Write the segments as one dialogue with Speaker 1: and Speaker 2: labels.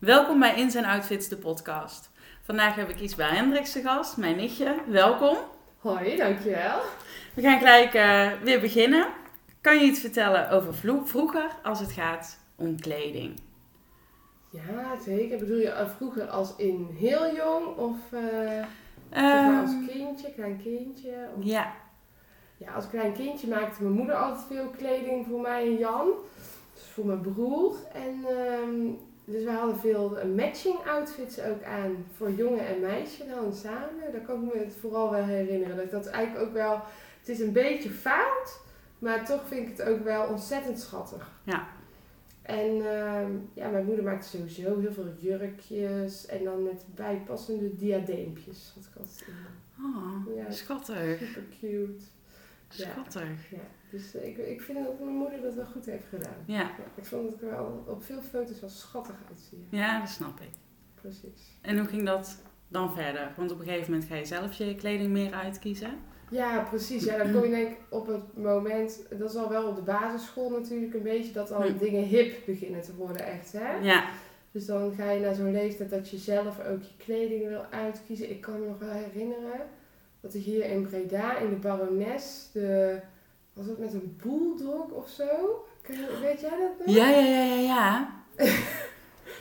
Speaker 1: Welkom bij In zijn Outfits, de podcast. Vandaag heb ik Isba Hendricks te gast, mijn nichtje. Welkom.
Speaker 2: Hoi, dankjewel.
Speaker 1: We gaan gelijk eh, weer beginnen. Kan je iets vertellen over vlo- vroeger als het gaat om kleding?
Speaker 2: Ja, zeker. Bedoel je eh, vroeger als in heel jong of eh, zeg maar
Speaker 1: Ehm,
Speaker 2: als kindje, klein kindje? Of-
Speaker 1: ja,
Speaker 2: Ja, als klein kindje maakte mijn moeder altijd veel kleding voor mij en Jan. Dus voor mijn broer. En, ehm, dus we hadden veel eh, matching outfits ook aan voor jongen en meisje dan samen. Daar kan ik me het vooral wel herinneren. Dat ik dat eigenlijk ook wel... Het is een beetje fout, maar toch vind ik het ook wel ontzettend schattig.
Speaker 1: Ja.
Speaker 2: En ehm, ja, mijn moeder maakte sowieso heel veel jurkjes en dan met bijpassende diadeempjes. Had ik altijd. in.
Speaker 1: oh,
Speaker 2: Ja,
Speaker 1: schattig.
Speaker 2: super cute. Ja.
Speaker 1: Schattig.
Speaker 2: Ja, dus eh, ik, ik vind dat mijn moeder dat wel goed heeft gedaan.
Speaker 1: Ja,
Speaker 2: Ja, ik vond het er wel op veel foto's wel schattig uitzien.
Speaker 1: ja, dat snap ik.
Speaker 2: Precies.
Speaker 1: En hoe ging dat dan verder? Want op een gegeven moment ga je zelf je kleding meer uitkiezen.
Speaker 2: Ja, precies. Ja, dan kom je denk ik op het moment, dat is al wel op de basisschool natuurlijk een beetje, dat al
Speaker 1: Hm.
Speaker 2: dingen hip beginnen te worden echt, hè?
Speaker 1: Ja,
Speaker 2: Dus dan ga je naar zo'n leeftijd dat je zelf ook je kleding wil uitkiezen. Ik kan me nog wel herinneren dat ik hier in Breda in de Barones, de, was dat met een bulldog of zo? Ken je- Weet jij dat nog?
Speaker 1: ja, ja, ja, ja. Ja,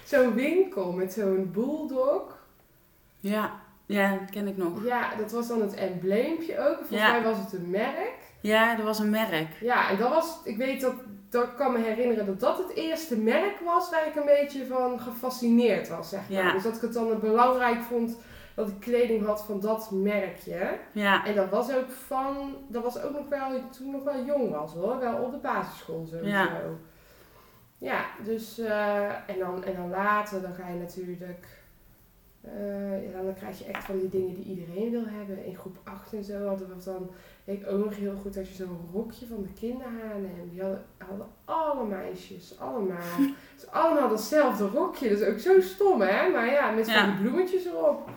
Speaker 2: Zo'n winkel met zo'n bulldog.
Speaker 1: ja, ja dat ken ik nog.
Speaker 2: Ja, dat was dan het embleempje ook. Volgens
Speaker 1: Ja.
Speaker 2: mij was het een merk.
Speaker 1: Ja, er was een merk.
Speaker 2: Ja, en dat was, ik weet dat, dat ik kan me herinneren dat dat het eerste merk was waar ik een beetje van gefascineerd was, zeg maar.
Speaker 1: Ja.
Speaker 2: Dus dat ik het dan belangrijk vond dat ik kleding had van dat merkje.
Speaker 1: Ja,
Speaker 2: En dat was ook van, dat was ook nog wel, toen ik nog wel jong was hoor, wel op de basisschool sowieso.
Speaker 1: Ja.
Speaker 2: Ja, dus, eh, en, dan, en dan later, dan ga je natuurlijk, eh, ja, dan krijg je echt van die dingen die iedereen wil hebben. In groep 8 en zo hadden we dan, weet ik ook nog heel goed, dat je zo'n rokje van de kinderhanen en die hadden, hadden alle meisjes, allemaal. dus allemaal datzelfde rokje, dat is ook zo stom hè, maar ja, met
Speaker 1: Ja.
Speaker 2: van die bloemetjes erop.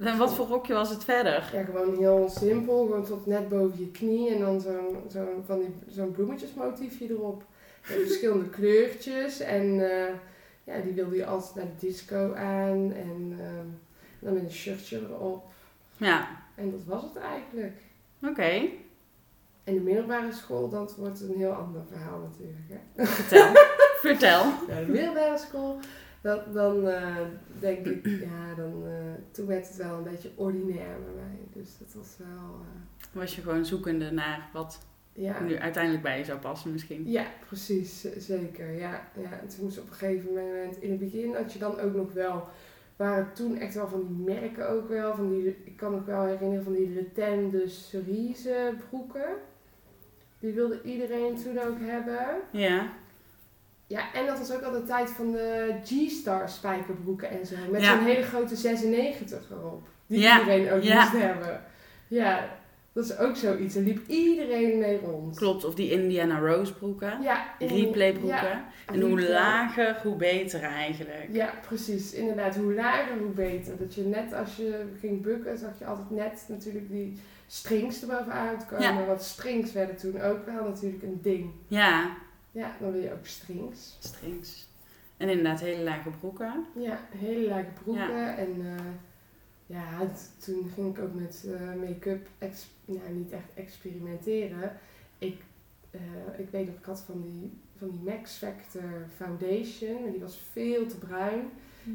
Speaker 1: en wat voor rokje was het verder?
Speaker 2: Ja, gewoon heel simpel. Gewoon tot net boven je knie en dan zo'n zo'n van die zo'n bloemetjesmotiefje erop. Met verschillende kleurtjes. En eh, ja, die wilde je altijd naar de disco aan. En ehm, dan met een shirtje erop.
Speaker 1: Ja,
Speaker 2: En dat was het eigenlijk.
Speaker 1: Oké,
Speaker 2: En de middelbare school, dat wordt een heel ander verhaal natuurlijk. Hè?
Speaker 1: vertel. vertel.
Speaker 2: naar de middelbare school. Dat, dan eh, denk ik, ja, dan, eh, toen werd het wel een beetje ordinair bij mij. Dus dat was wel, eh,
Speaker 1: Was je gewoon zoekende naar wat
Speaker 2: ja.
Speaker 1: nu uiteindelijk bij je zou passen misschien?
Speaker 2: Ja, precies, z- zeker. Ja, ja. En toen moest op een gegeven moment, in het begin had je dan ook nog wel, waren toen echt wel van die merken ook wel, van die, ik kan me ook wel herinneren van die Le Pen de Cerise broeken. Die wilde iedereen toen ook hebben.
Speaker 1: Ja.
Speaker 2: Ja, en dat was ook al de tijd van de G-Star spijkerbroeken en zo. Met
Speaker 1: Ja.
Speaker 2: zo'n hele grote 96 erop. Die
Speaker 1: Ja,
Speaker 2: iedereen ook
Speaker 1: ja.
Speaker 2: moest hebben. Ja, dat is ook zoiets. Daar liep iedereen mee rond.
Speaker 1: Klopt, of die Indiana Rose broeken.
Speaker 2: Ja, in-
Speaker 1: Replay broeken.
Speaker 2: ja,
Speaker 1: En hoe
Speaker 2: replay.
Speaker 1: lager, hoe beter eigenlijk.
Speaker 2: Ja, precies. Inderdaad, hoe lager, hoe beter. Dat je net als je ging bukken, zag je altijd net natuurlijk die strings erbovenuit komen.
Speaker 1: Ja.
Speaker 2: Want strings werden toen ook wel natuurlijk een ding.
Speaker 1: Ja,
Speaker 2: Ja, dan wil je ook strings.
Speaker 1: strings. En inderdaad, hele lage broeken.
Speaker 2: Ja, hele lage broeken. En eh, ja, t- toen ging ik ook met eh, make-up, ex- nou niet echt experimenteren. Ik, eh, ik weet nog, ik had van die, van die Max Factor Foundation, maar die was veel te bruin.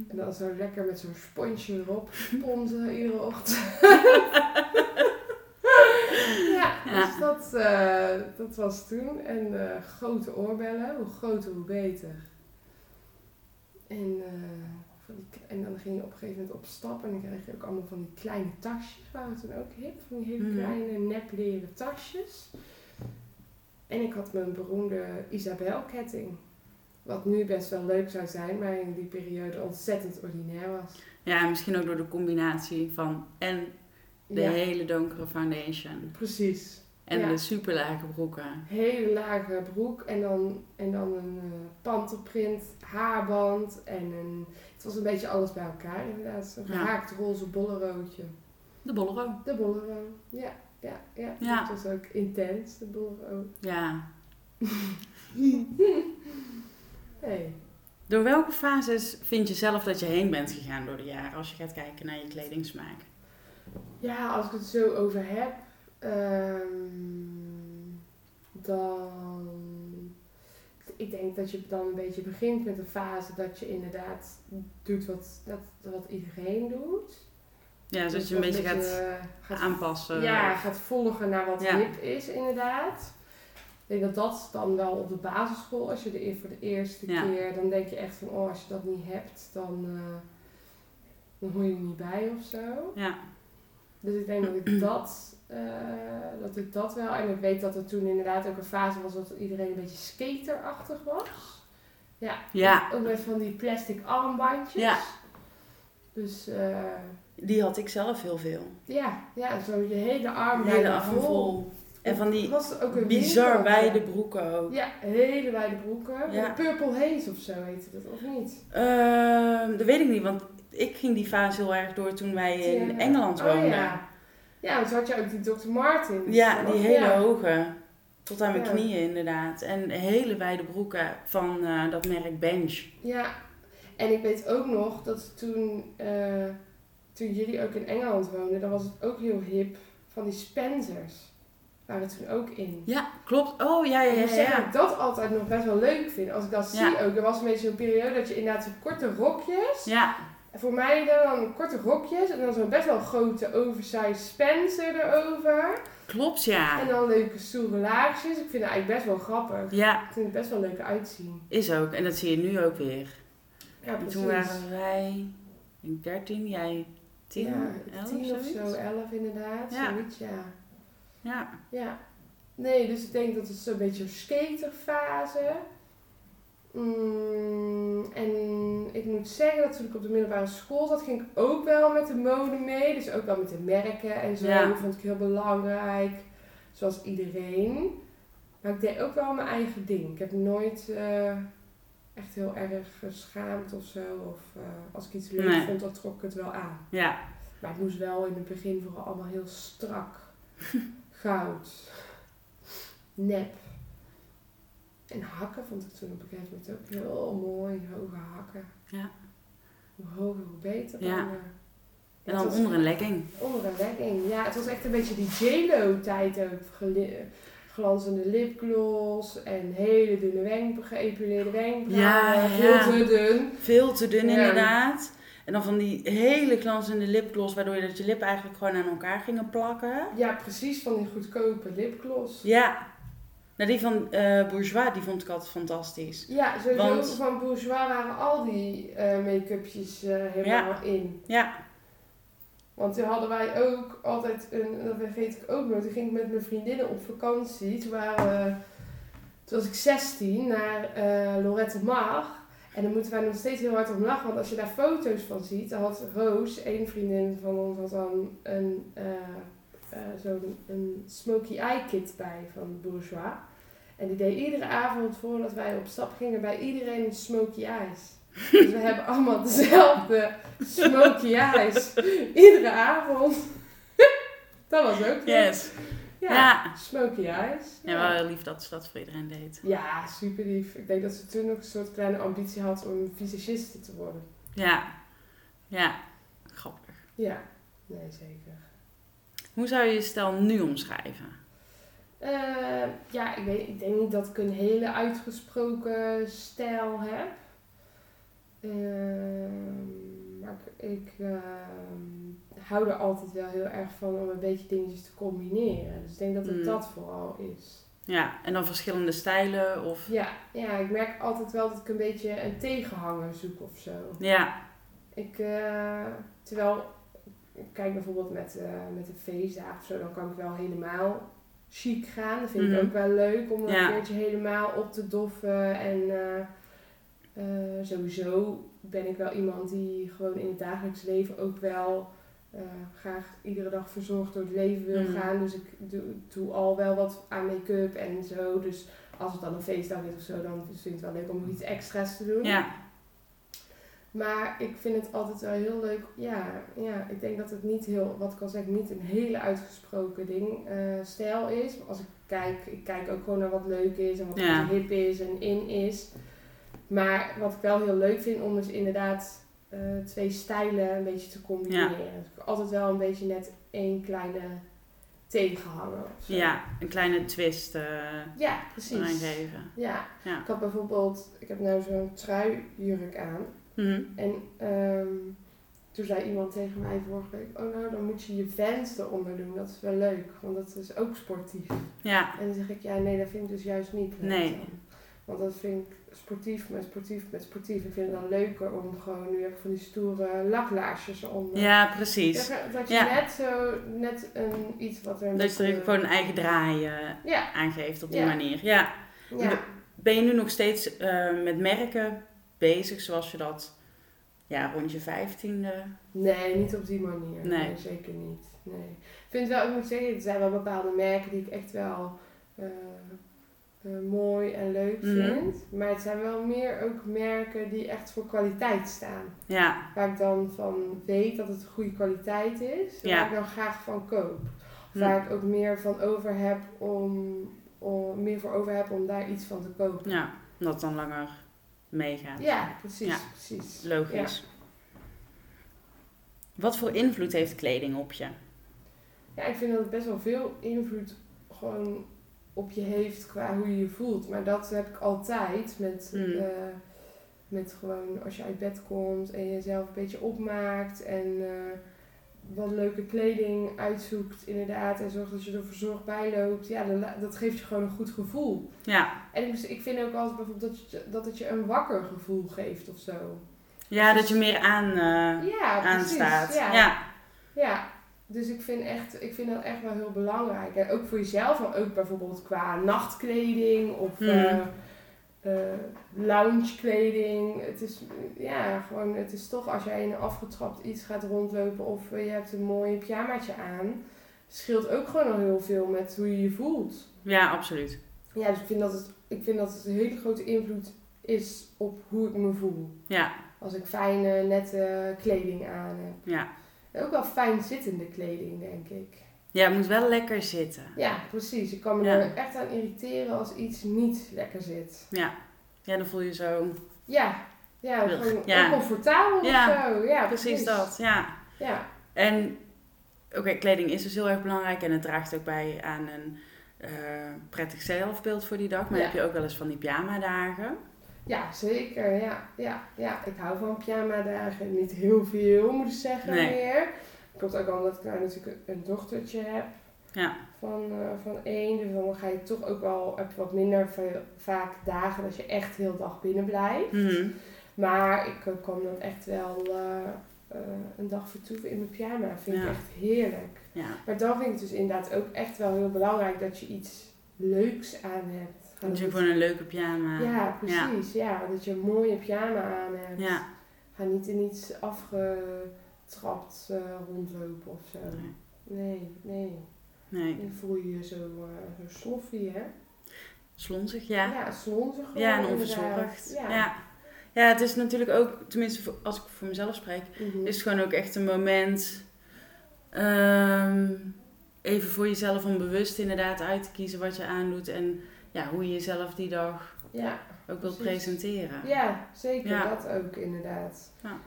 Speaker 2: En dan zo lekker met zo'n sponsje erop sponsen iedere ochtend. ja,
Speaker 1: Ja.
Speaker 2: dus dat, eh, dat was toen. En eh, grote oorbellen, hoe groter hoe beter. En, eh, van die k- en dan ging je op een gegeven moment op stap en dan kreeg je ook allemaal van die kleine tasjes. Waren toen ook hip, van die hele
Speaker 1: Mhm.
Speaker 2: kleine nepleren tasjes. En ik had mijn beroemde Isabel ketting. Wat nu best wel leuk zou zijn, maar in die periode ontzettend ordinair was.
Speaker 1: Ja, en misschien ook door de combinatie van en de
Speaker 2: Ja,
Speaker 1: hele donkere foundation.
Speaker 2: precies.
Speaker 1: En
Speaker 2: Ja.
Speaker 1: de super lage broeken.
Speaker 2: Hele lage broek en dan, en dan een eh, panterprint, haarband en een... Het was een beetje alles bij elkaar inderdaad. Zo'n
Speaker 1: Ja.
Speaker 2: gehaakt roze bolleroodje.
Speaker 1: De bolero.
Speaker 2: De bollero, ja. Ja, ja.
Speaker 1: Ja.
Speaker 2: Het was ook intens, de bollero.
Speaker 1: Ja.
Speaker 2: Nee.
Speaker 1: Door welke fases vind je zelf dat je heen bent gegaan door de jaren als je gaat kijken naar je kledingsmaak?
Speaker 2: Ja, als ik het zo over heb, ehm, dan. Ik denk dat je dan een beetje begint met een fase dat je inderdaad doet wat, dat, wat iedereen doet.
Speaker 1: Ja, zodat
Speaker 2: Dus
Speaker 1: je een beetje
Speaker 2: dat
Speaker 1: gaat
Speaker 2: je gaat
Speaker 1: aanpassen.
Speaker 2: ja, gaat volgen naar wat
Speaker 1: Ja.
Speaker 2: hip is, inderdaad. Ik denk dat dat dan wel op de basisschool, als je de, e- voor de eerste
Speaker 1: Ja.
Speaker 2: keer, dan denk je echt van, oh, als je dat niet hebt, dan, eh, dan hoor je er niet bij of zo.
Speaker 1: Ja,
Speaker 2: Dus ik denk dat ik dat, eh, dat ik dat wel, en ik weet dat er toen inderdaad ook een fase was dat iedereen een beetje skaterachtig was. Ja,
Speaker 1: Ja.
Speaker 2: ook met van die plastic armbandjes.
Speaker 1: Ja.
Speaker 2: Dus eh,
Speaker 1: die had ik zelf heel veel.
Speaker 2: ja, ja, zo je hele arm
Speaker 1: Hele
Speaker 2: bijna
Speaker 1: arm vol. En van die
Speaker 2: was er ook een
Speaker 1: bizar
Speaker 2: wereld,
Speaker 1: wijde
Speaker 2: ja.
Speaker 1: broeken ook.
Speaker 2: Ja, hele wijde broeken.
Speaker 1: Ja.
Speaker 2: Purple Haze of zo heette dat, of niet?
Speaker 1: Ehm, dat weet ik niet, want ik ging die fase heel erg door toen wij in
Speaker 2: Ja.
Speaker 1: Engeland woonden.
Speaker 2: Oh, ja. ja, want toen had je ook die Dr. Martin.
Speaker 1: Ja, die hele hoge. Tot aan mijn
Speaker 2: Ja.
Speaker 1: knieën inderdaad. En hele wijde broeken van eh, dat merk Bench.
Speaker 2: Ja, en ik weet ook nog dat toen, eh, toen jullie ook in Engeland woonden, dan was het ook heel hip van die Spencers. Waren toen ook in.
Speaker 1: Ja, klopt. Oh, ja, ja,
Speaker 2: En
Speaker 1: ja.
Speaker 2: ik moet zeggen dat
Speaker 1: ja.
Speaker 2: ik dat altijd nog best wel leuk vind. Als ik dat
Speaker 1: Ja.
Speaker 2: zie ook. Er was een beetje zo'n periode dat je inderdaad zo'n korte rokjes.
Speaker 1: Ja,
Speaker 2: En voor mij dan korte rokjes. En dan zo'n best wel grote oversized Spencer erover.
Speaker 1: klopt, ja.
Speaker 2: En dan leuke stoere laarsjes. Ik vind het eigenlijk best wel grappig.
Speaker 1: Ja,
Speaker 2: Ik vind het best wel leuk uitzien.
Speaker 1: is ook. En dat zie je nu ook weer.
Speaker 2: Ja,
Speaker 1: En
Speaker 2: precies.
Speaker 1: toen waren wij ik denk 13, jij 10,
Speaker 2: ja,
Speaker 1: 11
Speaker 2: tien of
Speaker 1: zoiets.
Speaker 2: zo, elf inderdaad.
Speaker 1: Ja.
Speaker 2: Zoiets, ja.
Speaker 1: Ja,
Speaker 2: Ja. Nee, dus ik denk dat het zo'n beetje een skaterfase. Mm, en ik moet zeggen dat toen ik op de middelbare school zat, ging ik ook wel met de mode mee. Dus ook wel met de merken en zo.
Speaker 1: Ja.
Speaker 2: Dat vond ik heel belangrijk. Zoals iedereen. Maar ik deed ook wel mijn eigen ding. Ik heb nooit eh, echt heel erg geschaamd of zo. Of eh, als ik iets leuk
Speaker 1: Nee.
Speaker 2: vond, dan trok ik het wel aan.
Speaker 1: ja.
Speaker 2: Maar het moest wel in het begin vooral allemaal heel strak. Goud. Nep. En hakken vond ik toen op een gegeven moment ook heel mooi. Hoge hakken.
Speaker 1: Ja.
Speaker 2: Hoe hoger, hoe beter.
Speaker 1: Ja.
Speaker 2: eh,
Speaker 1: En
Speaker 2: het
Speaker 1: dan
Speaker 2: was
Speaker 1: onder een legging.
Speaker 2: Onder een legging. Ja, het was echt een beetje die J-Lo tijd ook. Geli- Glanzende lipgloss en hele dunne wenkbrauwen, geëpileerde wenkbrauwen.
Speaker 1: Ja, ja.
Speaker 2: Heel te dun.
Speaker 1: Veel te dun
Speaker 2: Ja.
Speaker 1: inderdaad. En dan van die hele glanzende lipgloss, waardoor je dat je lip eigenlijk gewoon aan elkaar gingen plakken.
Speaker 2: Ja, precies van die goedkope lipgloss.
Speaker 1: Ja. Nou, die van eh, Bourgeois, die vond ik altijd fantastisch.
Speaker 2: Ja, sowieso
Speaker 1: Want-
Speaker 2: van bourgeois waren al die eh, make-upjes eh, helemaal in.
Speaker 1: Ja,
Speaker 2: Want toen hadden wij ook altijd een, dat vergeet ik ook nooit, toen ging ik met mijn vriendinnen op vakantie. Toen, waren we- toen was ik 16 naar eh, Lorette Mar. En daar moeten wij nog steeds heel hard om lachen, want als je daar foto's van ziet, dan had Roos, één vriendin van ons, had dan een, eh eh, zo'n een smoky eye kit bij van Bourgeois. En die deed iedere avond voordat wij op stap gingen bij iedereen een smoky eyes. Dus we hebben allemaal dezelfde smoky eyes. Iedere avond. dat was ook leuk.
Speaker 1: yes.
Speaker 2: Ja.
Speaker 1: Ja.
Speaker 2: Smoky eyes.
Speaker 1: Ja, wel heel lief dat ze dat voor iedereen deed.
Speaker 2: Ja, super lief. Ik denk dat ze toen ook een soort kleine ambitie had om visagiste te worden.
Speaker 1: Ja. Ja. Grappig.
Speaker 2: Ja, nee zeker.
Speaker 1: Hoe zou je je stijl nu omschrijven?
Speaker 2: Eh, ja, ik, weet, ik denk niet dat ik een hele uitgesproken stijl heb. Ehm, maar ik, ik, ehm, hou er altijd wel heel erg van om een beetje dingetjes te combineren. Dus ik denk dat het
Speaker 1: Mm.
Speaker 2: dat vooral is.
Speaker 1: Ja, en dan verschillende stijlen of...
Speaker 2: Ja, ja, ik merk altijd wel dat ik een beetje een tegenhanger zoek of zo.
Speaker 1: Ja,
Speaker 2: Ik, eh, terwijl, ik kijk bijvoorbeeld met, eh, met een feestdag of zo, dan kan ik wel helemaal chic gaan. Dat vind
Speaker 1: Mhm.
Speaker 2: ik ook wel leuk om dan
Speaker 1: Ja.
Speaker 2: een keertje helemaal op te doffen. En eh, eh, sowieso ben ik wel iemand die gewoon in het dagelijks leven ook wel eh, graag iedere dag verzorgd door het leven wil
Speaker 1: Mhm.
Speaker 2: gaan. Dus ik doe, doe al wel wat aan make-up en zo. Dus als het dan een feestdag is of zo, dan vind ik het wel leuk om nog iets extra's te doen.
Speaker 1: ja,
Speaker 2: Maar ik vind het altijd wel heel leuk. Ja, ja ik denk dat het niet heel, wat ik al zeg, niet een hele uitgesproken ding, eh, stijl is. Maar als ik kijk, ik kijk ook gewoon naar wat leuk is en wat
Speaker 1: Ja.
Speaker 2: hip is en in is. Maar wat ik wel heel leuk vind om is inderdaad eh, twee stijlen een beetje te combineren. Dus ik altijd wel een beetje net één kleine tegenhanger. of zo.
Speaker 1: Ja, een kleine twist eh
Speaker 2: Ja, precies.
Speaker 1: aan geven.
Speaker 2: Ja.
Speaker 1: Ja.
Speaker 2: ik had bijvoorbeeld, ik heb nou zo'n truijurk aan.
Speaker 1: Mhm.
Speaker 2: En ehm, toen zei iemand tegen mij vorige week, oh nou dan moet je je vans eronder doen, dat is wel leuk, want dat is ook sportief.
Speaker 1: Ja,
Speaker 2: En dan zeg ik, ja nee, dat vind ik dus juist niet leuk.
Speaker 1: Nee.
Speaker 2: dan. Want dat vind ik sportief met sportief met sportief. Ik vind het dan leuker om gewoon, nu heb ik van die stoere laklaarsjes eronder.
Speaker 1: ja, precies.
Speaker 2: Dat, dat je
Speaker 1: Ja.
Speaker 2: net zo, net een, iets wat er... een
Speaker 1: Dat je er
Speaker 2: beetje-
Speaker 1: gewoon een eigen draai eh,
Speaker 2: Ja,
Speaker 1: aan geeft op die
Speaker 2: Ja.
Speaker 1: manier. Ja.
Speaker 2: ja.
Speaker 1: Ben je nu nog steeds eh, met merken bezig zoals je dat ja, rond je vijftiende?
Speaker 2: Nee, niet op die manier.
Speaker 1: Nee.
Speaker 2: Nee, zeker niet. Nee. Ik vind wel, ik moet zeggen, er zijn wel bepaalde merken die ik echt wel eh, eh, mooi en leuk
Speaker 1: Mhm.
Speaker 2: vind. Maar het zijn wel meer ook merken die echt voor kwaliteit staan.
Speaker 1: Ja,
Speaker 2: Waar ik dan van weet dat het goede kwaliteit is. en
Speaker 1: Ja.
Speaker 2: Waar ik dan graag van koop.
Speaker 1: Hm.
Speaker 2: Waar ik ook meer van over heb om, om meer voor over heb om daar iets van te kopen.
Speaker 1: ja, omdat het dan langer meegaat.
Speaker 2: Ja, precies,
Speaker 1: Ja.
Speaker 2: precies.
Speaker 1: Logisch. Wat voor invloed heeft kleding op je?
Speaker 2: Ja, ik vind dat het best wel veel invloed gewoon op je heeft qua hoe je je voelt. Maar dat heb ik altijd met,
Speaker 1: Mm.
Speaker 2: eh, met gewoon als je uit bed komt en jezelf een beetje opmaakt en eh, wat leuke kleding uitzoekt inderdaad en zorgt dat je er verzorgd bij loopt. Ja, dan la- dat geeft je gewoon een goed gevoel.
Speaker 1: Ja,
Speaker 2: En ik, ik vind ook altijd bijvoorbeeld dat, je, dat het je een wakker gevoel geeft of zo.
Speaker 1: ja dat je meer aan, eh,
Speaker 2: Ja, precies.
Speaker 1: aanstaat. Ja.
Speaker 2: ja.
Speaker 1: Ja.
Speaker 2: Ja, dus ik vind, echt, ik vind dat echt wel heel belangrijk. En ook voor jezelf, maar ook bijvoorbeeld qua nachtkleding of
Speaker 1: Mhm.
Speaker 2: eh, eh, loungekleding. Het is, eh, ja, gewoon, het is toch als jij in een afgetrapt iets gaat rondlopen of eh, je hebt een mooi pyjamaatje aan, scheelt ook gewoon al heel veel met hoe je je voelt.
Speaker 1: absoluut.
Speaker 2: Ja, dus ik vind dat het, ik vind dat het een hele grote invloed is op hoe ik me voel.
Speaker 1: Ja,
Speaker 2: Als ik fijne, nette kleding aan heb.
Speaker 1: ja.
Speaker 2: Ook wel fijn zittende kleding, denk ik.
Speaker 1: Ja, het moet wel lekker zitten.
Speaker 2: Ja, precies. Ik kan me
Speaker 1: Ja.
Speaker 2: er echt aan irriteren als iets niet lekker zit.
Speaker 1: Ja, dan voel je zo.
Speaker 2: Ja, ja
Speaker 1: Ugh,
Speaker 2: gewoon
Speaker 1: ja.
Speaker 2: oncomfortabel
Speaker 1: Ja,
Speaker 2: of zo. Ja,
Speaker 1: Precies dat, ja.
Speaker 2: Ja,
Speaker 1: En oké, kleding is dus heel erg belangrijk en het draagt ook bij aan een eh, prettig zelfbeeld voor die dag. Maar
Speaker 2: Ja.
Speaker 1: heb je ook wel eens van die pyjama-dagen?
Speaker 2: ja zeker. Ja, ja, ja. Ik hou van pyjama-dagen. Niet heel veel, moet ik zeggen
Speaker 1: Nee.
Speaker 2: meer. Komt ook omdat ik nou natuurlijk een dochtertje heb.
Speaker 1: Ja.
Speaker 2: Van, eh, van één. Dus dan ga je toch ook wel heb je wat minder veel- vaak dagen dat je echt heel dag binnen blijft.
Speaker 1: Mhm.
Speaker 2: Maar ik eh, kan dan echt wel eh, eh, een dag vertoeven in mijn pyjama. Vind
Speaker 1: Ja.
Speaker 2: ik echt heerlijk.
Speaker 1: Ja.
Speaker 2: Maar dan vind ik het dus inderdaad ook echt wel heel belangrijk dat je iets leuks aan hebt.
Speaker 1: Dat je
Speaker 2: niet-
Speaker 1: gewoon een leuke pyjama.
Speaker 2: Ja, precies. Ja. dat je een mooie pyjama aan hebt.
Speaker 1: Ja.
Speaker 2: Ga niet in iets afgetrapt eh, rondlopen of zo.
Speaker 1: Nee.
Speaker 2: Nee, nee.
Speaker 1: Nee.
Speaker 2: Dan voel je je zo, eh, zo sloffy, hè?
Speaker 1: Slonzig, ja.
Speaker 2: slonzig gewoon
Speaker 1: Ja, en
Speaker 2: inderdaad.
Speaker 1: onverzorgd.
Speaker 2: Ja.
Speaker 1: ja. Ja, het is natuurlijk ook, tenminste voor- als ik voor mezelf spreek,
Speaker 2: Mhm.
Speaker 1: is het gewoon ook echt een moment ehm, even voor jezelf om bewust inderdaad uit te kiezen wat je aandoet en ja, hoe je jezelf die dag
Speaker 2: ja.
Speaker 1: ook wilt
Speaker 2: Precies.
Speaker 1: presenteren.
Speaker 2: Ja, zeker.
Speaker 1: Ja.
Speaker 2: Dat ook inderdaad.
Speaker 1: Ja.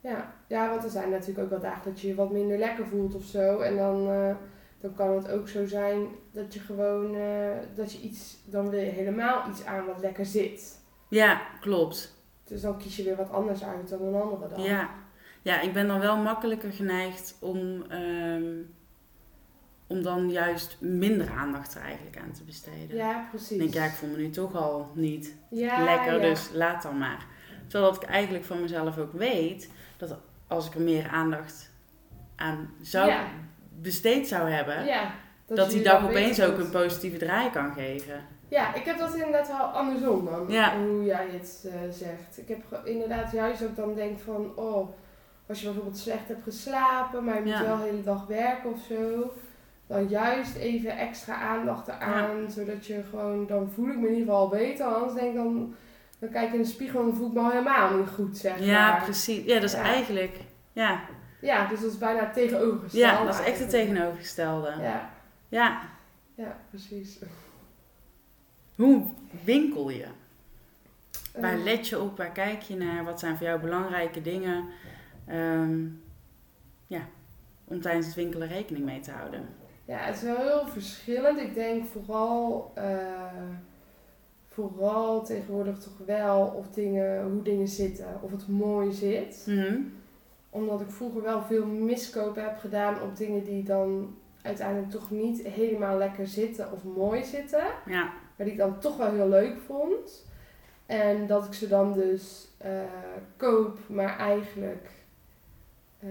Speaker 2: Ja. ja, want er zijn natuurlijk ook wel dagen dat je je wat minder lekker voelt of zo. En dan, eh, dan kan het ook zo zijn dat je gewoon, eh, dat je iets, dan wil je helemaal iets aan wat lekker zit.
Speaker 1: Ja, klopt.
Speaker 2: Dus dan kies je weer wat anders uit dan een andere dag.
Speaker 1: Ja. ja, ik ben dan wel makkelijker geneigd om, ehm, om dan juist minder aandacht er eigenlijk aan te besteden.
Speaker 2: Ja,
Speaker 1: Ik
Speaker 2: precies.
Speaker 1: denk, ja, ik voel me nu toch al niet
Speaker 2: Ja,
Speaker 1: lekker,
Speaker 2: ja.
Speaker 1: dus laat dan maar. Terwijl dat ik eigenlijk van mezelf ook weet dat als ik er meer aandacht aan zou
Speaker 2: Ja.
Speaker 1: besteed zou hebben,
Speaker 2: Ja,
Speaker 1: eh, dat,
Speaker 2: je
Speaker 1: die
Speaker 2: je
Speaker 1: dag
Speaker 2: dan
Speaker 1: opeens
Speaker 2: beter
Speaker 1: ook een
Speaker 2: voelt.
Speaker 1: positieve draai kan geven.
Speaker 2: Ja, ik heb dat inderdaad wel andersom dan
Speaker 1: Ja.
Speaker 2: hoe jij het eh, zegt. Ik heb ge- inderdaad juist ook dan denk van, oh, als je bijvoorbeeld slecht hebt geslapen, maar je moet
Speaker 1: Ja.
Speaker 2: wel de hele dag werken of zo. Dan juist even extra aandacht eraan, zodat je gewoon, dan voel ik me in ieder geval al beter. Anders denk ik dan, dan kijk ik in de spiegel en dan voel ik me al helemaal niet goed, zeg
Speaker 1: Ja,
Speaker 2: maar.
Speaker 1: precies. Ja, dat is
Speaker 2: Ja.
Speaker 1: eigenlijk, ja.
Speaker 2: Ja, dus dat is bijna het tegenovergestelde.
Speaker 1: ja, dat is echt het
Speaker 2: eigenlijk.
Speaker 1: tegenovergestelde.
Speaker 2: Ja,
Speaker 1: ja.
Speaker 2: ja, precies.
Speaker 1: Hoe winkel je? Waar
Speaker 2: Eh,
Speaker 1: let je op? Waar kijk je naar? Wat zijn voor jou belangrijke dingen? Ehm, ja, om tijdens het winkelen rekening mee te houden.
Speaker 2: Ja, het is wel heel verschillend. Ik denk vooral, eh, vooral tegenwoordig toch wel of dingen, hoe dingen zitten. Of het mooi zit.
Speaker 1: Mhm.
Speaker 2: Omdat ik vroeger wel veel miskopen heb gedaan op dingen die dan uiteindelijk toch niet helemaal lekker zitten of mooi zitten.
Speaker 1: Ja,
Speaker 2: Maar die ik dan toch wel heel leuk vond. En dat ik ze dan dus eh, koop, maar eigenlijk eh,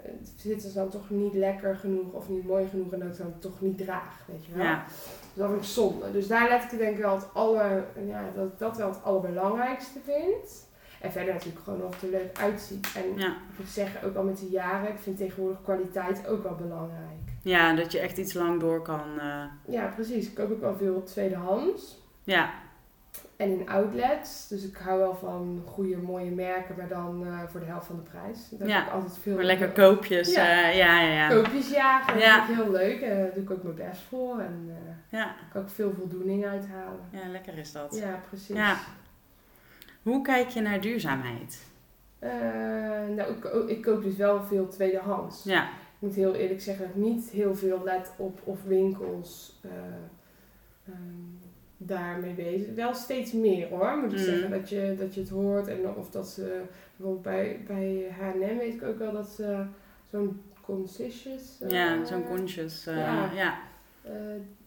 Speaker 2: het zitten ze dan toch niet lekker genoeg of niet mooi genoeg. En dat ik dan toch niet draag, weet je wel.
Speaker 1: ja,
Speaker 2: Dus dat vind ik zonde. Dus daar let ik denk ik wel het aller, ja, dat ik dat wel het allerbelangrijkste vind. En verder natuurlijk gewoon of het er leuk uitziet. En
Speaker 1: ja.
Speaker 2: ik moet zeggen, ook al met de jaren, ik vind tegenwoordig kwaliteit ook wel belangrijk.
Speaker 1: Ja, dat je echt iets lang door kan. eh,
Speaker 2: Ja, precies. Ik koop ook wel veel tweedehands.
Speaker 1: ja,
Speaker 2: En in outlets. Dus ik hou wel van goede, mooie merken, maar dan eh, voor de helft van de prijs. Dat
Speaker 1: Ja,
Speaker 2: vind ik altijd veel
Speaker 1: voor lekker koopjes.
Speaker 2: Ja.
Speaker 1: eh, ja, ja, ja.
Speaker 2: koopjes jagen.
Speaker 1: Ja.
Speaker 2: Dat vind ik heel leuk. En daar doe ik ook mijn best voor. En eh,
Speaker 1: Ja,
Speaker 2: daar kan ik veel voldoening uithalen.
Speaker 1: ja, lekker is dat.
Speaker 2: Ja, precies.
Speaker 1: Ja. Hoe kijk je naar duurzaamheid?
Speaker 2: Eh, nou, ik, ko- ik koop dus wel veel tweedehands.
Speaker 1: Ja,
Speaker 2: Ik moet heel eerlijk zeggen dat ik niet heel veel let op of winkels eh, ehm, daarmee bezig. Wel steeds meer hoor, moet ik
Speaker 1: Mm.
Speaker 2: zeggen. Dat je, dat je het hoort en of dat ze bijvoorbeeld bij, bij H&M weet ik ook wel dat ze zo'n conscious eh,
Speaker 1: ja zo'n conscious. eh,
Speaker 2: ja.
Speaker 1: ja.
Speaker 2: eh,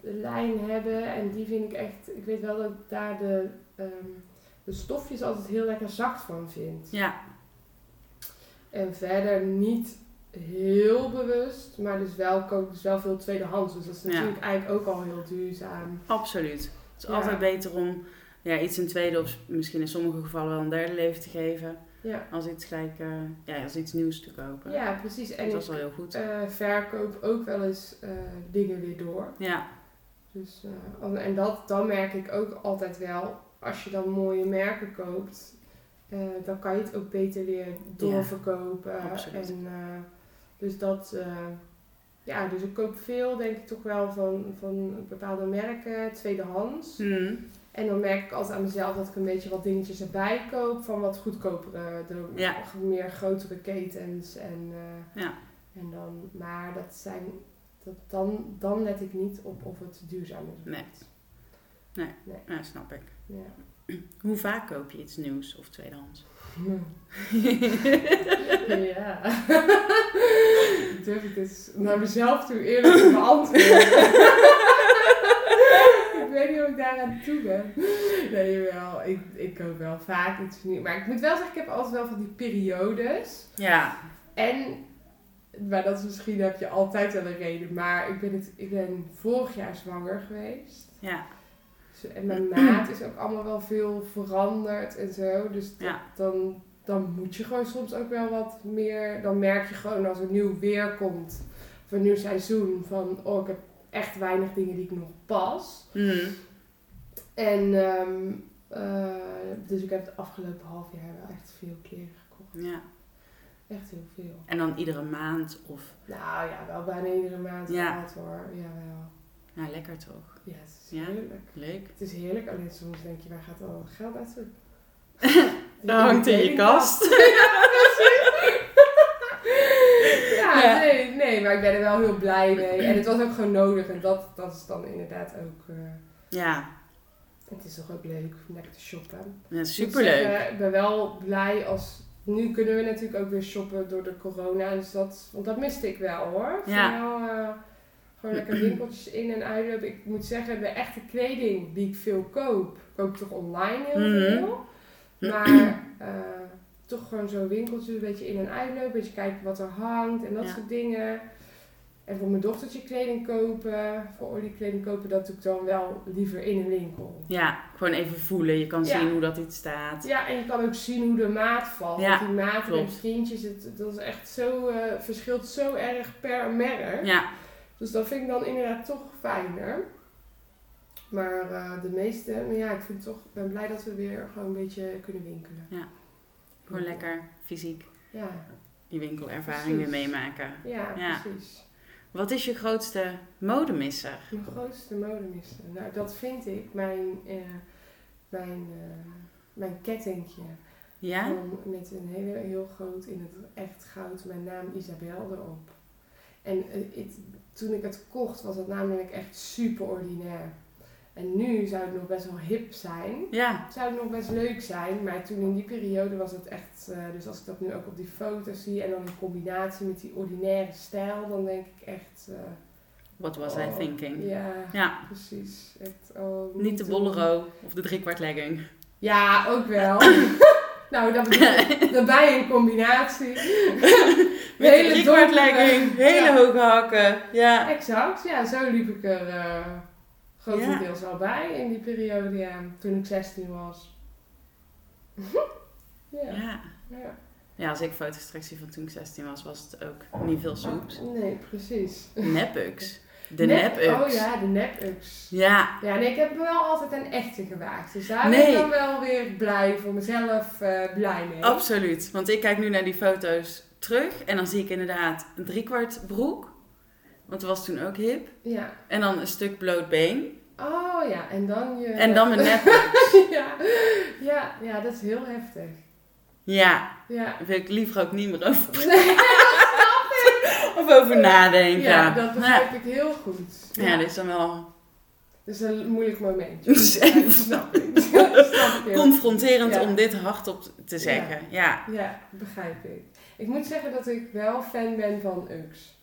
Speaker 2: lijn hebben. En die vind ik echt, ik weet wel dat ik daar de, ehm, de stofjes altijd heel lekker zacht van vind.
Speaker 1: Ja,
Speaker 2: En verder niet heel bewust, maar dus wel koop ik dus wel veel tweedehands. Dus dat is
Speaker 1: Ja.
Speaker 2: natuurlijk eigenlijk ook al heel duurzaam.
Speaker 1: absoluut. Het is
Speaker 2: Ja.
Speaker 1: altijd beter om ja, iets een tweede of misschien in sommige gevallen wel een derde leven te geven.
Speaker 2: Ja,
Speaker 1: Als iets, gelijk, eh, ja, als iets nieuws te kopen.
Speaker 2: ja precies.
Speaker 1: Dus
Speaker 2: En
Speaker 1: dat is
Speaker 2: ik
Speaker 1: wel heel goed.
Speaker 2: eh, verkoop ook wel eens eh, dingen weer door.
Speaker 1: Ja,
Speaker 2: Dus, eh, an- en dat, dan merk ik ook altijd wel, als je dan mooie merken koopt, eh, dan kan je het ook beter weer doorverkopen.
Speaker 1: absoluut.
Speaker 2: en, eh, dus dat, eh, ja, dus ik koop veel denk ik toch wel van, van bepaalde merken, tweedehands.
Speaker 1: Mhm.
Speaker 2: En dan merk ik altijd aan mezelf dat ik een beetje wat dingetjes erbij koop van wat goedkopere, de
Speaker 1: Ja.
Speaker 2: meer grotere ketens. En, eh,
Speaker 1: Ja.
Speaker 2: en dan, maar dat zijn, dat dan, dan let ik niet op of het duurzaam is. of
Speaker 1: Nee.
Speaker 2: niet.
Speaker 1: ja, snap ik.
Speaker 2: Ja.
Speaker 1: Hoe vaak koop je iets nieuws of tweedehands?
Speaker 2: ja. Durf ik dus naar mezelf toe eerlijk te beantwoorden. ik weet niet hoe ik daar aan toe ben. Nee, wel. Ik, ik koop wel vaak iets nieuws. Maar ik moet wel zeggen, ik heb altijd wel van die periodes.
Speaker 1: Ja,
Speaker 2: En, maar dat is misschien, heb je altijd wel een reden. Maar ik ben, het, ik ben vorig jaar zwanger geweest.
Speaker 1: ja,
Speaker 2: Zo, En mijn maat is ook allemaal wel veel veranderd en zo. Dus dat-
Speaker 1: Ja.
Speaker 2: dan, dan moet je gewoon soms ook wel wat meer. Dan merk je gewoon als er nieuw weer komt. Of een nieuw seizoen. Van oh, ik heb echt weinig dingen die ik nog pas.
Speaker 1: Mhm.
Speaker 2: En ehm, eh, dus ik heb het afgelopen half jaar wel echt veel kleren gekocht.
Speaker 1: ja.
Speaker 2: Echt heel veel.
Speaker 1: En dan iedere maand of...
Speaker 2: Nou ja, wel bijna iedere maand
Speaker 1: Ja.
Speaker 2: gehad hoor. Jawel.
Speaker 1: Ja, nou, lekker toch?
Speaker 2: Ja, het is
Speaker 1: Ja?
Speaker 2: heerlijk.
Speaker 1: Leuk.
Speaker 2: Het is heerlijk, alleen soms denk je, waar gaat al het geld naartoe?
Speaker 1: Dat hangt in je kast.
Speaker 2: Ja,
Speaker 1: Ja.
Speaker 2: Nee, nee, maar ik ben er wel heel blij mee. En het was ook gewoon nodig. En dat, dat is dan inderdaad ook... eh,
Speaker 1: Ja,
Speaker 2: het is toch ook leuk om lekker te shoppen.
Speaker 1: ja,
Speaker 2: Dus Ik, moet
Speaker 1: superleuk.
Speaker 2: zeggen, ik ben wel blij als... Nu kunnen we natuurlijk ook weer shoppen door de corona. Dus dat, want dat miste ik wel hoor.
Speaker 1: Ja.
Speaker 2: Vooral, eh, gewoon lekker winkeltjes in en uitlopen. Ik moet zeggen, de echte kleding die ik veel koop, koop ik toch online heel
Speaker 1: Mhm.
Speaker 2: veel. Maar eh, toch gewoon zo'n winkeltje, een beetje in en uitlopen, een beetje kijken wat er hangt en dat
Speaker 1: Ja.
Speaker 2: soort dingen. En voor mijn dochtertje kleding kopen, voor Ollie kleding kopen, dat doe ik dan wel liever in een winkel.
Speaker 1: Ja, gewoon even voelen. Je kan
Speaker 2: Ja.
Speaker 1: zien hoe dat iets staat.
Speaker 2: Ja, en je kan ook zien hoe de maat valt.
Speaker 1: Ja,
Speaker 2: Want die maten en
Speaker 1: klopt.
Speaker 2: vriendjes, het, dat is echt zo, eh, verschilt zo erg per merk.
Speaker 1: Ja,
Speaker 2: Dus dat vind ik dan inderdaad toch fijner. Maar eh, de meeste, maar ja, ik vind toch, ik ben blij dat we weer gewoon een beetje kunnen winkelen.
Speaker 1: Ja. gewoon lekker fysiek
Speaker 2: Ja,
Speaker 1: die winkelervaring
Speaker 2: Precies.
Speaker 1: weer meemaken.
Speaker 2: ja,
Speaker 1: Ja.
Speaker 2: precies.
Speaker 1: Wat is je grootste modemisser?
Speaker 2: Mijn grootste modemisser. Nou, dat vind ik mijn, eh, mijn eh, mijn kettingje.
Speaker 1: Ja?
Speaker 2: Gewoon Ehm, Met een hele, heel groot, in het echt goud, mijn naam Isabel erop. En eh, het- toen ik het kocht, was het namelijk echt super ordinair. En nu zou het nog best wel hip zijn.
Speaker 1: Ja.
Speaker 2: Zou het nog best leuk zijn, maar toen in die periode was het echt. eh, dus als ik dat nu ook op die foto's zie en dan in combinatie met die ordinaire stijl, dan denk ik echt. eh,
Speaker 1: What was I
Speaker 2: oh,
Speaker 1: thinking?
Speaker 2: Ja,
Speaker 1: Ja.
Speaker 2: precies. Echt, oh,
Speaker 1: Niet de
Speaker 2: doen.
Speaker 1: bollero of de driekwart legging.
Speaker 2: Ja, ook wel. nou, dat bedoel ik. Daarbij een combinatie.
Speaker 1: Met de driekwart legging, hele
Speaker 2: Ja.
Speaker 1: hoge hakken. Ja.
Speaker 2: Exact, ja, zo liep ik er eh, grotendeels al bij in die periode, ja, toen ik 16 was. ja,
Speaker 1: ja.
Speaker 2: ja.
Speaker 1: Ja, als ik foto's straks zie van toen ik 16 was, was het ook niet veel soeps.
Speaker 2: Nee, precies.
Speaker 1: Nepuks. De
Speaker 2: Nep-
Speaker 1: nepuks.
Speaker 2: Oh ja, de nepuks.
Speaker 1: Ja,
Speaker 2: Ja, nee, ik heb me wel altijd een echte gewaagd. Dus daar ben
Speaker 1: Nee.
Speaker 2: ik dan wel weer blij voor mezelf, eh, blij mee.
Speaker 1: absoluut. Want ik kijk nu naar die foto's terug en dan zie ik inderdaad een driekwart broek. Want dat was toen ook hip.
Speaker 2: Ja.
Speaker 1: En dan een stuk bloot been.
Speaker 2: Oh ja, en dan je...
Speaker 1: En dan mijn nepuks.
Speaker 2: ja. Ja, ja, dat is heel heftig.
Speaker 1: Ja,
Speaker 2: Ja.
Speaker 1: daar wil ik liever ook niet meer over,
Speaker 2: Nee,
Speaker 1: of over nadenken.
Speaker 2: ja, dat
Speaker 1: ja.
Speaker 2: begrijp ik heel goed.
Speaker 1: Ja, dit is dan wel
Speaker 2: Dat is een moeilijk momentje.
Speaker 1: Zeker.
Speaker 2: Ja, dat snap ik. Dat snap ik.
Speaker 1: confronterend
Speaker 2: Ja.
Speaker 1: om dit hardop te zeggen. Ja.
Speaker 2: Ja, begrijp ik. Ik moet zeggen dat ik wel fan ben van UX.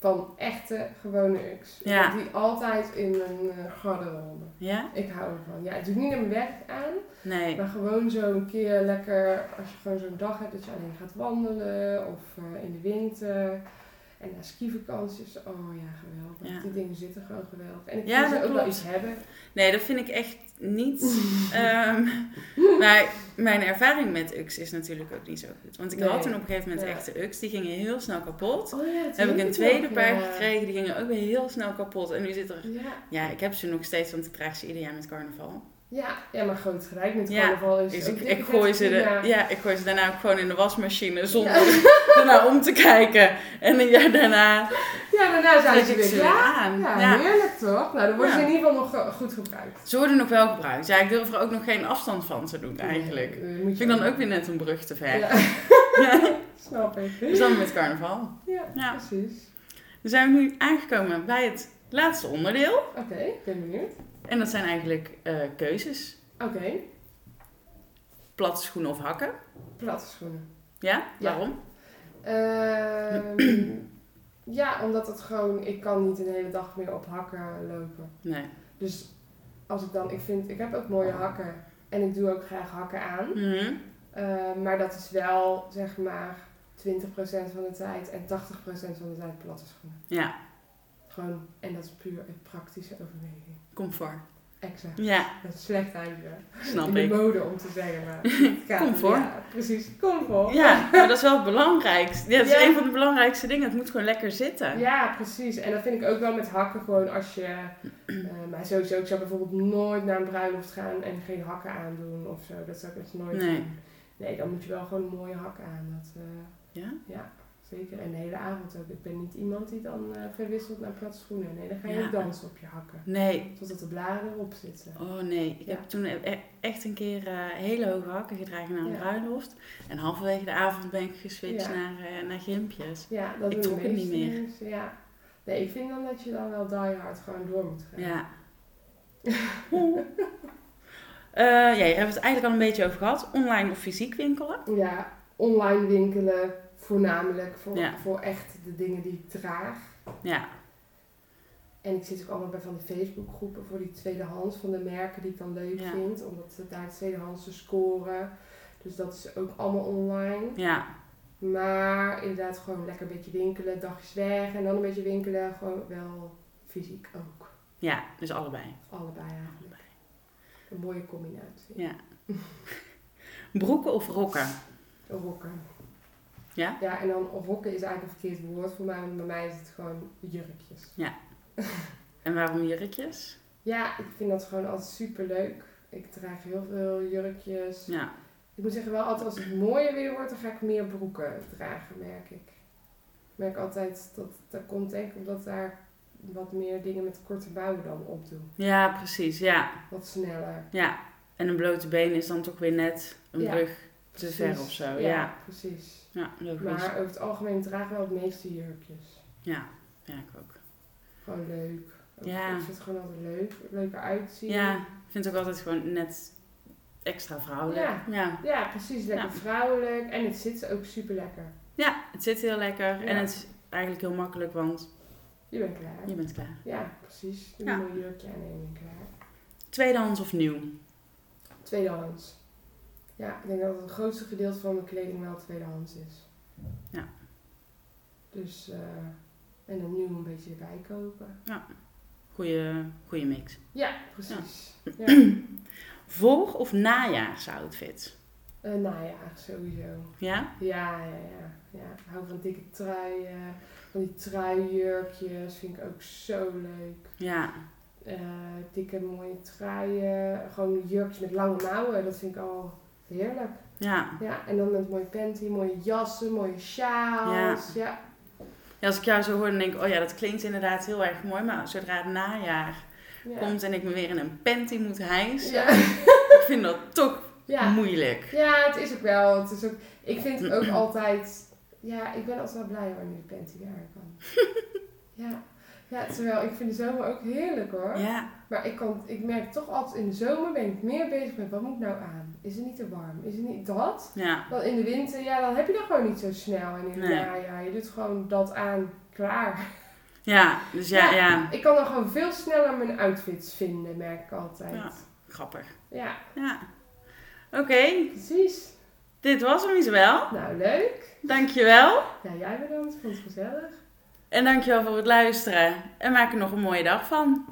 Speaker 2: Van echte, gewone UX.
Speaker 1: Ja.
Speaker 2: Die altijd in mijn eh, garderobe.
Speaker 1: Ja?
Speaker 2: Ik hou ervan. Ja, het doet niet aan mijn werk aan.
Speaker 1: Nee.
Speaker 2: Maar gewoon zo een keer lekker, als je gewoon zo'n dag hebt dat je alleen gaat wandelen of eh, in de winter. En na skivakanties, oh ja, geweldig.
Speaker 1: Ja.
Speaker 2: Die dingen zitten gewoon geweldig. En ik
Speaker 1: Ja,
Speaker 2: wil ze
Speaker 1: dat
Speaker 2: ook wel
Speaker 1: klopt. Oh
Speaker 2: iets hebben.
Speaker 1: Nee, dat vind ik echt niet. Ehm, maar mijn ervaring met UX is natuurlijk ook niet zo goed. Want ik
Speaker 2: Nee.
Speaker 1: had toen op een gegeven moment
Speaker 2: Ja.
Speaker 1: echte UX, die gingen heel snel kapot.
Speaker 2: Oh ja, dat
Speaker 1: heb ik
Speaker 2: weet
Speaker 1: een tweede
Speaker 2: nog,
Speaker 1: paar
Speaker 2: ja.
Speaker 1: gekregen, die gingen ook weer heel snel kapot. En nu zit er.
Speaker 2: Ja.
Speaker 1: Ja, ik heb ze nog steeds, want ik draag ze ieder jaar met carnaval.
Speaker 2: Ja, ja, maar groot gelijk met
Speaker 1: Ja,
Speaker 2: carnaval is
Speaker 1: Dus
Speaker 2: ook
Speaker 1: ik,
Speaker 2: dit
Speaker 1: ik, gooi ze
Speaker 2: prima.
Speaker 1: de, ja, ik gooi ze daarna ook gewoon in de wasmachine zonder ernaar om te kijken. En een jaar daarna
Speaker 2: Ja, daarna zijn
Speaker 1: trek
Speaker 2: ze
Speaker 1: ik
Speaker 2: weer
Speaker 1: ze weer
Speaker 2: klaar.
Speaker 1: aan.
Speaker 2: Ja,
Speaker 1: Ja.
Speaker 2: heerlijk toch? Nou, dan worden
Speaker 1: Ja.
Speaker 2: ze in ieder geval nog eh, goed gebruikt.
Speaker 1: Ze worden nog wel gebruikt. Ja, ik durf er ook nog geen afstand van te doen eigenlijk.
Speaker 2: Nee, eh, moet
Speaker 1: Vind ik dan ook weer net een brug te ver.
Speaker 2: Ja. Snap ik.
Speaker 1: Dus dan met carnaval.
Speaker 2: Ja,
Speaker 1: Ja.
Speaker 2: precies.
Speaker 1: Dan zijn we nu aangekomen bij het laatste onderdeel.
Speaker 2: Oké, ik ben benieuwd.
Speaker 1: En dat zijn eigenlijk eh, keuzes.
Speaker 2: Oké,
Speaker 1: Platte schoenen of hakken.
Speaker 2: platte schoenen.
Speaker 1: Ja?
Speaker 2: Ja.
Speaker 1: Waarom?
Speaker 2: Ehm, ja, omdat het gewoon... Ik kan niet een hele dag meer op hakken lopen.
Speaker 1: Nee.
Speaker 2: Dus als ik dan... Ik vind... Ik heb ook mooie hakken. En ik doe ook graag hakken aan.
Speaker 1: Mhm.
Speaker 2: Eh, maar dat is wel, zeg maar, 20% van de tijd en 80% van de tijd platte schoenen.
Speaker 1: Ja,
Speaker 2: Gewoon, en dat is puur een praktische overweging.
Speaker 1: comfort.
Speaker 2: Exact.
Speaker 1: Ja,
Speaker 2: Dat is slecht eigenlijk. In
Speaker 1: snap
Speaker 2: de
Speaker 1: ik.
Speaker 2: mode om te zeggen, maar het gaat-
Speaker 1: Comfort.
Speaker 2: Ja, precies. Comfort.
Speaker 1: Ja, maar dat is wel het belangrijkste. Ja, dat is
Speaker 2: Ja.
Speaker 1: een van de belangrijkste dingen. Het moet gewoon lekker zitten.
Speaker 2: Ja, precies. En dat vind ik ook wel met hakken gewoon als je... eh, maar sowieso, ik zou bijvoorbeeld nooit naar een bruiloft gaan en geen hakken aandoen of zo. Dat zou ik echt nooit
Speaker 1: Nee.
Speaker 2: doen. Nee, dan moet je wel gewoon een mooie hak aan. Dat, eh,
Speaker 1: Ja?
Speaker 2: Zeker, en de hele avond ook. Ik ben niet iemand die dan eh, verwisselt naar platte schoenen. Nee, dan ga je
Speaker 1: Ja.
Speaker 2: ook dansen op je hakken.
Speaker 1: Nee.
Speaker 2: Totdat de bladeren erop zitten.
Speaker 1: Oh nee, ik
Speaker 2: Ja.
Speaker 1: heb toen e- echt een keer eh, hele hoge hakken gedragen naar een
Speaker 2: Ja.
Speaker 1: bruiloft. En halverwege de avond ben ik geswitcht
Speaker 2: Ja.
Speaker 1: naar, eh, naar gimpjes.
Speaker 2: Ja, dat
Speaker 1: Ik
Speaker 2: doen de
Speaker 1: trok het niet
Speaker 2: meeste
Speaker 1: meer.
Speaker 2: mensen, Ja. Nee, ik vind dan dat je dan wel die hard gewoon door moet gaan.
Speaker 1: Ja. Oeh. Eh, ja, je hebt het eigenlijk al een beetje over gehad. Online of fysiek winkelen.
Speaker 2: Ja, online winkelen voornamelijk voor,
Speaker 1: Ja.
Speaker 2: voor echt de dingen die ik draag.
Speaker 1: Ja.
Speaker 2: En ik zit ook allemaal bij van die Facebookgroepen voor die tweedehands van de merken die ik dan leuk
Speaker 1: Ja.
Speaker 2: vind. Omdat ze daar tweedehands te scoren. Dus dat is ook allemaal online.
Speaker 1: Ja.
Speaker 2: Maar inderdaad, gewoon lekker een beetje winkelen, dagjes weg en dan een beetje winkelen. Gewoon wel fysiek ook.
Speaker 1: Ja, dus allebei.
Speaker 2: Allebei eigenlijk. Een mooie combinatie.
Speaker 1: Ja. Broeken of rokken?
Speaker 2: Rokken.
Speaker 1: Ja?
Speaker 2: Ja, en dan rokken is eigenlijk een verkeerd woord voor mij, want bij mij is het gewoon jurkjes.
Speaker 1: En waarom jurkjes?
Speaker 2: Ja, ik vind dat gewoon altijd super leuk. Ik draag heel veel jurkjes.
Speaker 1: Ja.
Speaker 2: Ik moet zeggen wel altijd als het mooier weer wordt, dan ga ik meer broeken dragen, merk ik. Ik merk altijd dat dat komt denk ik omdat daar wat meer dingen met korte mouwen dan op doen.
Speaker 1: Ja, precies. Ja.
Speaker 2: Wat sneller.
Speaker 1: Ja. En een blote been is dan toch weer net een
Speaker 2: Ja,
Speaker 1: brug te ver
Speaker 2: Precies.
Speaker 1: of zo. Ja,
Speaker 2: precies.
Speaker 1: ja. logisch.
Speaker 2: Maar over het algemeen dragen wel het meeste jurkjes.
Speaker 1: Ja, ja, ik ook.
Speaker 2: Gewoon leuk. Ook-
Speaker 1: Ja.
Speaker 2: Ik vind het gewoon altijd leuk. Leuker uitzien.
Speaker 1: Ja, ik vind het ook altijd gewoon net extra vrouwelijk.
Speaker 2: Ja.
Speaker 1: ja.
Speaker 2: Ja, precies. Lekker
Speaker 1: Ja.
Speaker 2: vrouwelijk. En het zit ook super lekker.
Speaker 1: Ja, het zit heel lekker
Speaker 2: Ja.
Speaker 1: en het is eigenlijk heel makkelijk, want
Speaker 2: Je bent klaar.
Speaker 1: je bent klaar.
Speaker 2: Ja, precies. Je
Speaker 1: Ja.
Speaker 2: moet een jurkje aannemen en klaar.
Speaker 1: Tweedehands of nieuw?
Speaker 2: Tweedehands. Ja, ik denk dat het grootste gedeelte van mijn kleding wel tweedehands is.
Speaker 1: Ja.
Speaker 2: Dus, eh, en dan nieuw een beetje erbij kopen.
Speaker 1: Goeie, goeie mix.
Speaker 2: Ja, precies. Ja.
Speaker 1: Voor- of najaarsoutfit?
Speaker 2: Eh, nou ja, sowieso.
Speaker 1: Ja?
Speaker 2: Ja, ja, ja. ja. Ik hou van dikke truien. Van die truijurkjes vind ik ook zo leuk.
Speaker 1: Ja.
Speaker 2: Eh, dikke mooie truien. Gewoon jurkjes met lange mouwen. Dat vind ik al heerlijk.
Speaker 1: Ja.
Speaker 2: Ja, en dan met mooie panty, mooie jassen, mooie sjaals. Ja,
Speaker 1: ja. Als ik jou zo hoor, dan denk ik, oh ja, dat klinkt inderdaad heel erg mooi, maar zodra het najaar
Speaker 2: ja.
Speaker 1: komt en ik me weer in een panty moet hijsen,
Speaker 2: Ja.
Speaker 1: ik vind dat toch
Speaker 2: Ja.
Speaker 1: eh, moeilijk.
Speaker 2: ja, het is ook wel. Het is ook, ik vind het ook altijd... Ja, ik ben altijd wel blij wanneer de panty daar kan. Ja. ja, terwijl ik vind de zomer ook heerlijk hoor.
Speaker 1: Ja,
Speaker 2: Maar ik, kan, ik merk toch altijd in de zomer ben ik meer bezig met wat moet ik nou aan? Is het niet te warm? Is het niet dat?
Speaker 1: ja,
Speaker 2: Dan in de winter, ja, dan heb je dat gewoon niet zo snel. En in het
Speaker 1: Nee.
Speaker 2: najaar, je doet gewoon dat aan, klaar.
Speaker 1: ja. Dus ja, ja.
Speaker 2: Ja. Ik kan dan gewoon veel sneller mijn outfits vinden, merk ik altijd.
Speaker 1: Ja.
Speaker 2: Ja,
Speaker 1: grappig. Ja. Oké,
Speaker 2: precies.
Speaker 1: dit was hem Isabel.
Speaker 2: Nou, leuk.
Speaker 1: Dankjewel.
Speaker 2: Ja, jij bedankt. Vond het gezellig.
Speaker 1: En dankjewel voor het luisteren. En maak er nog een mooie dag van.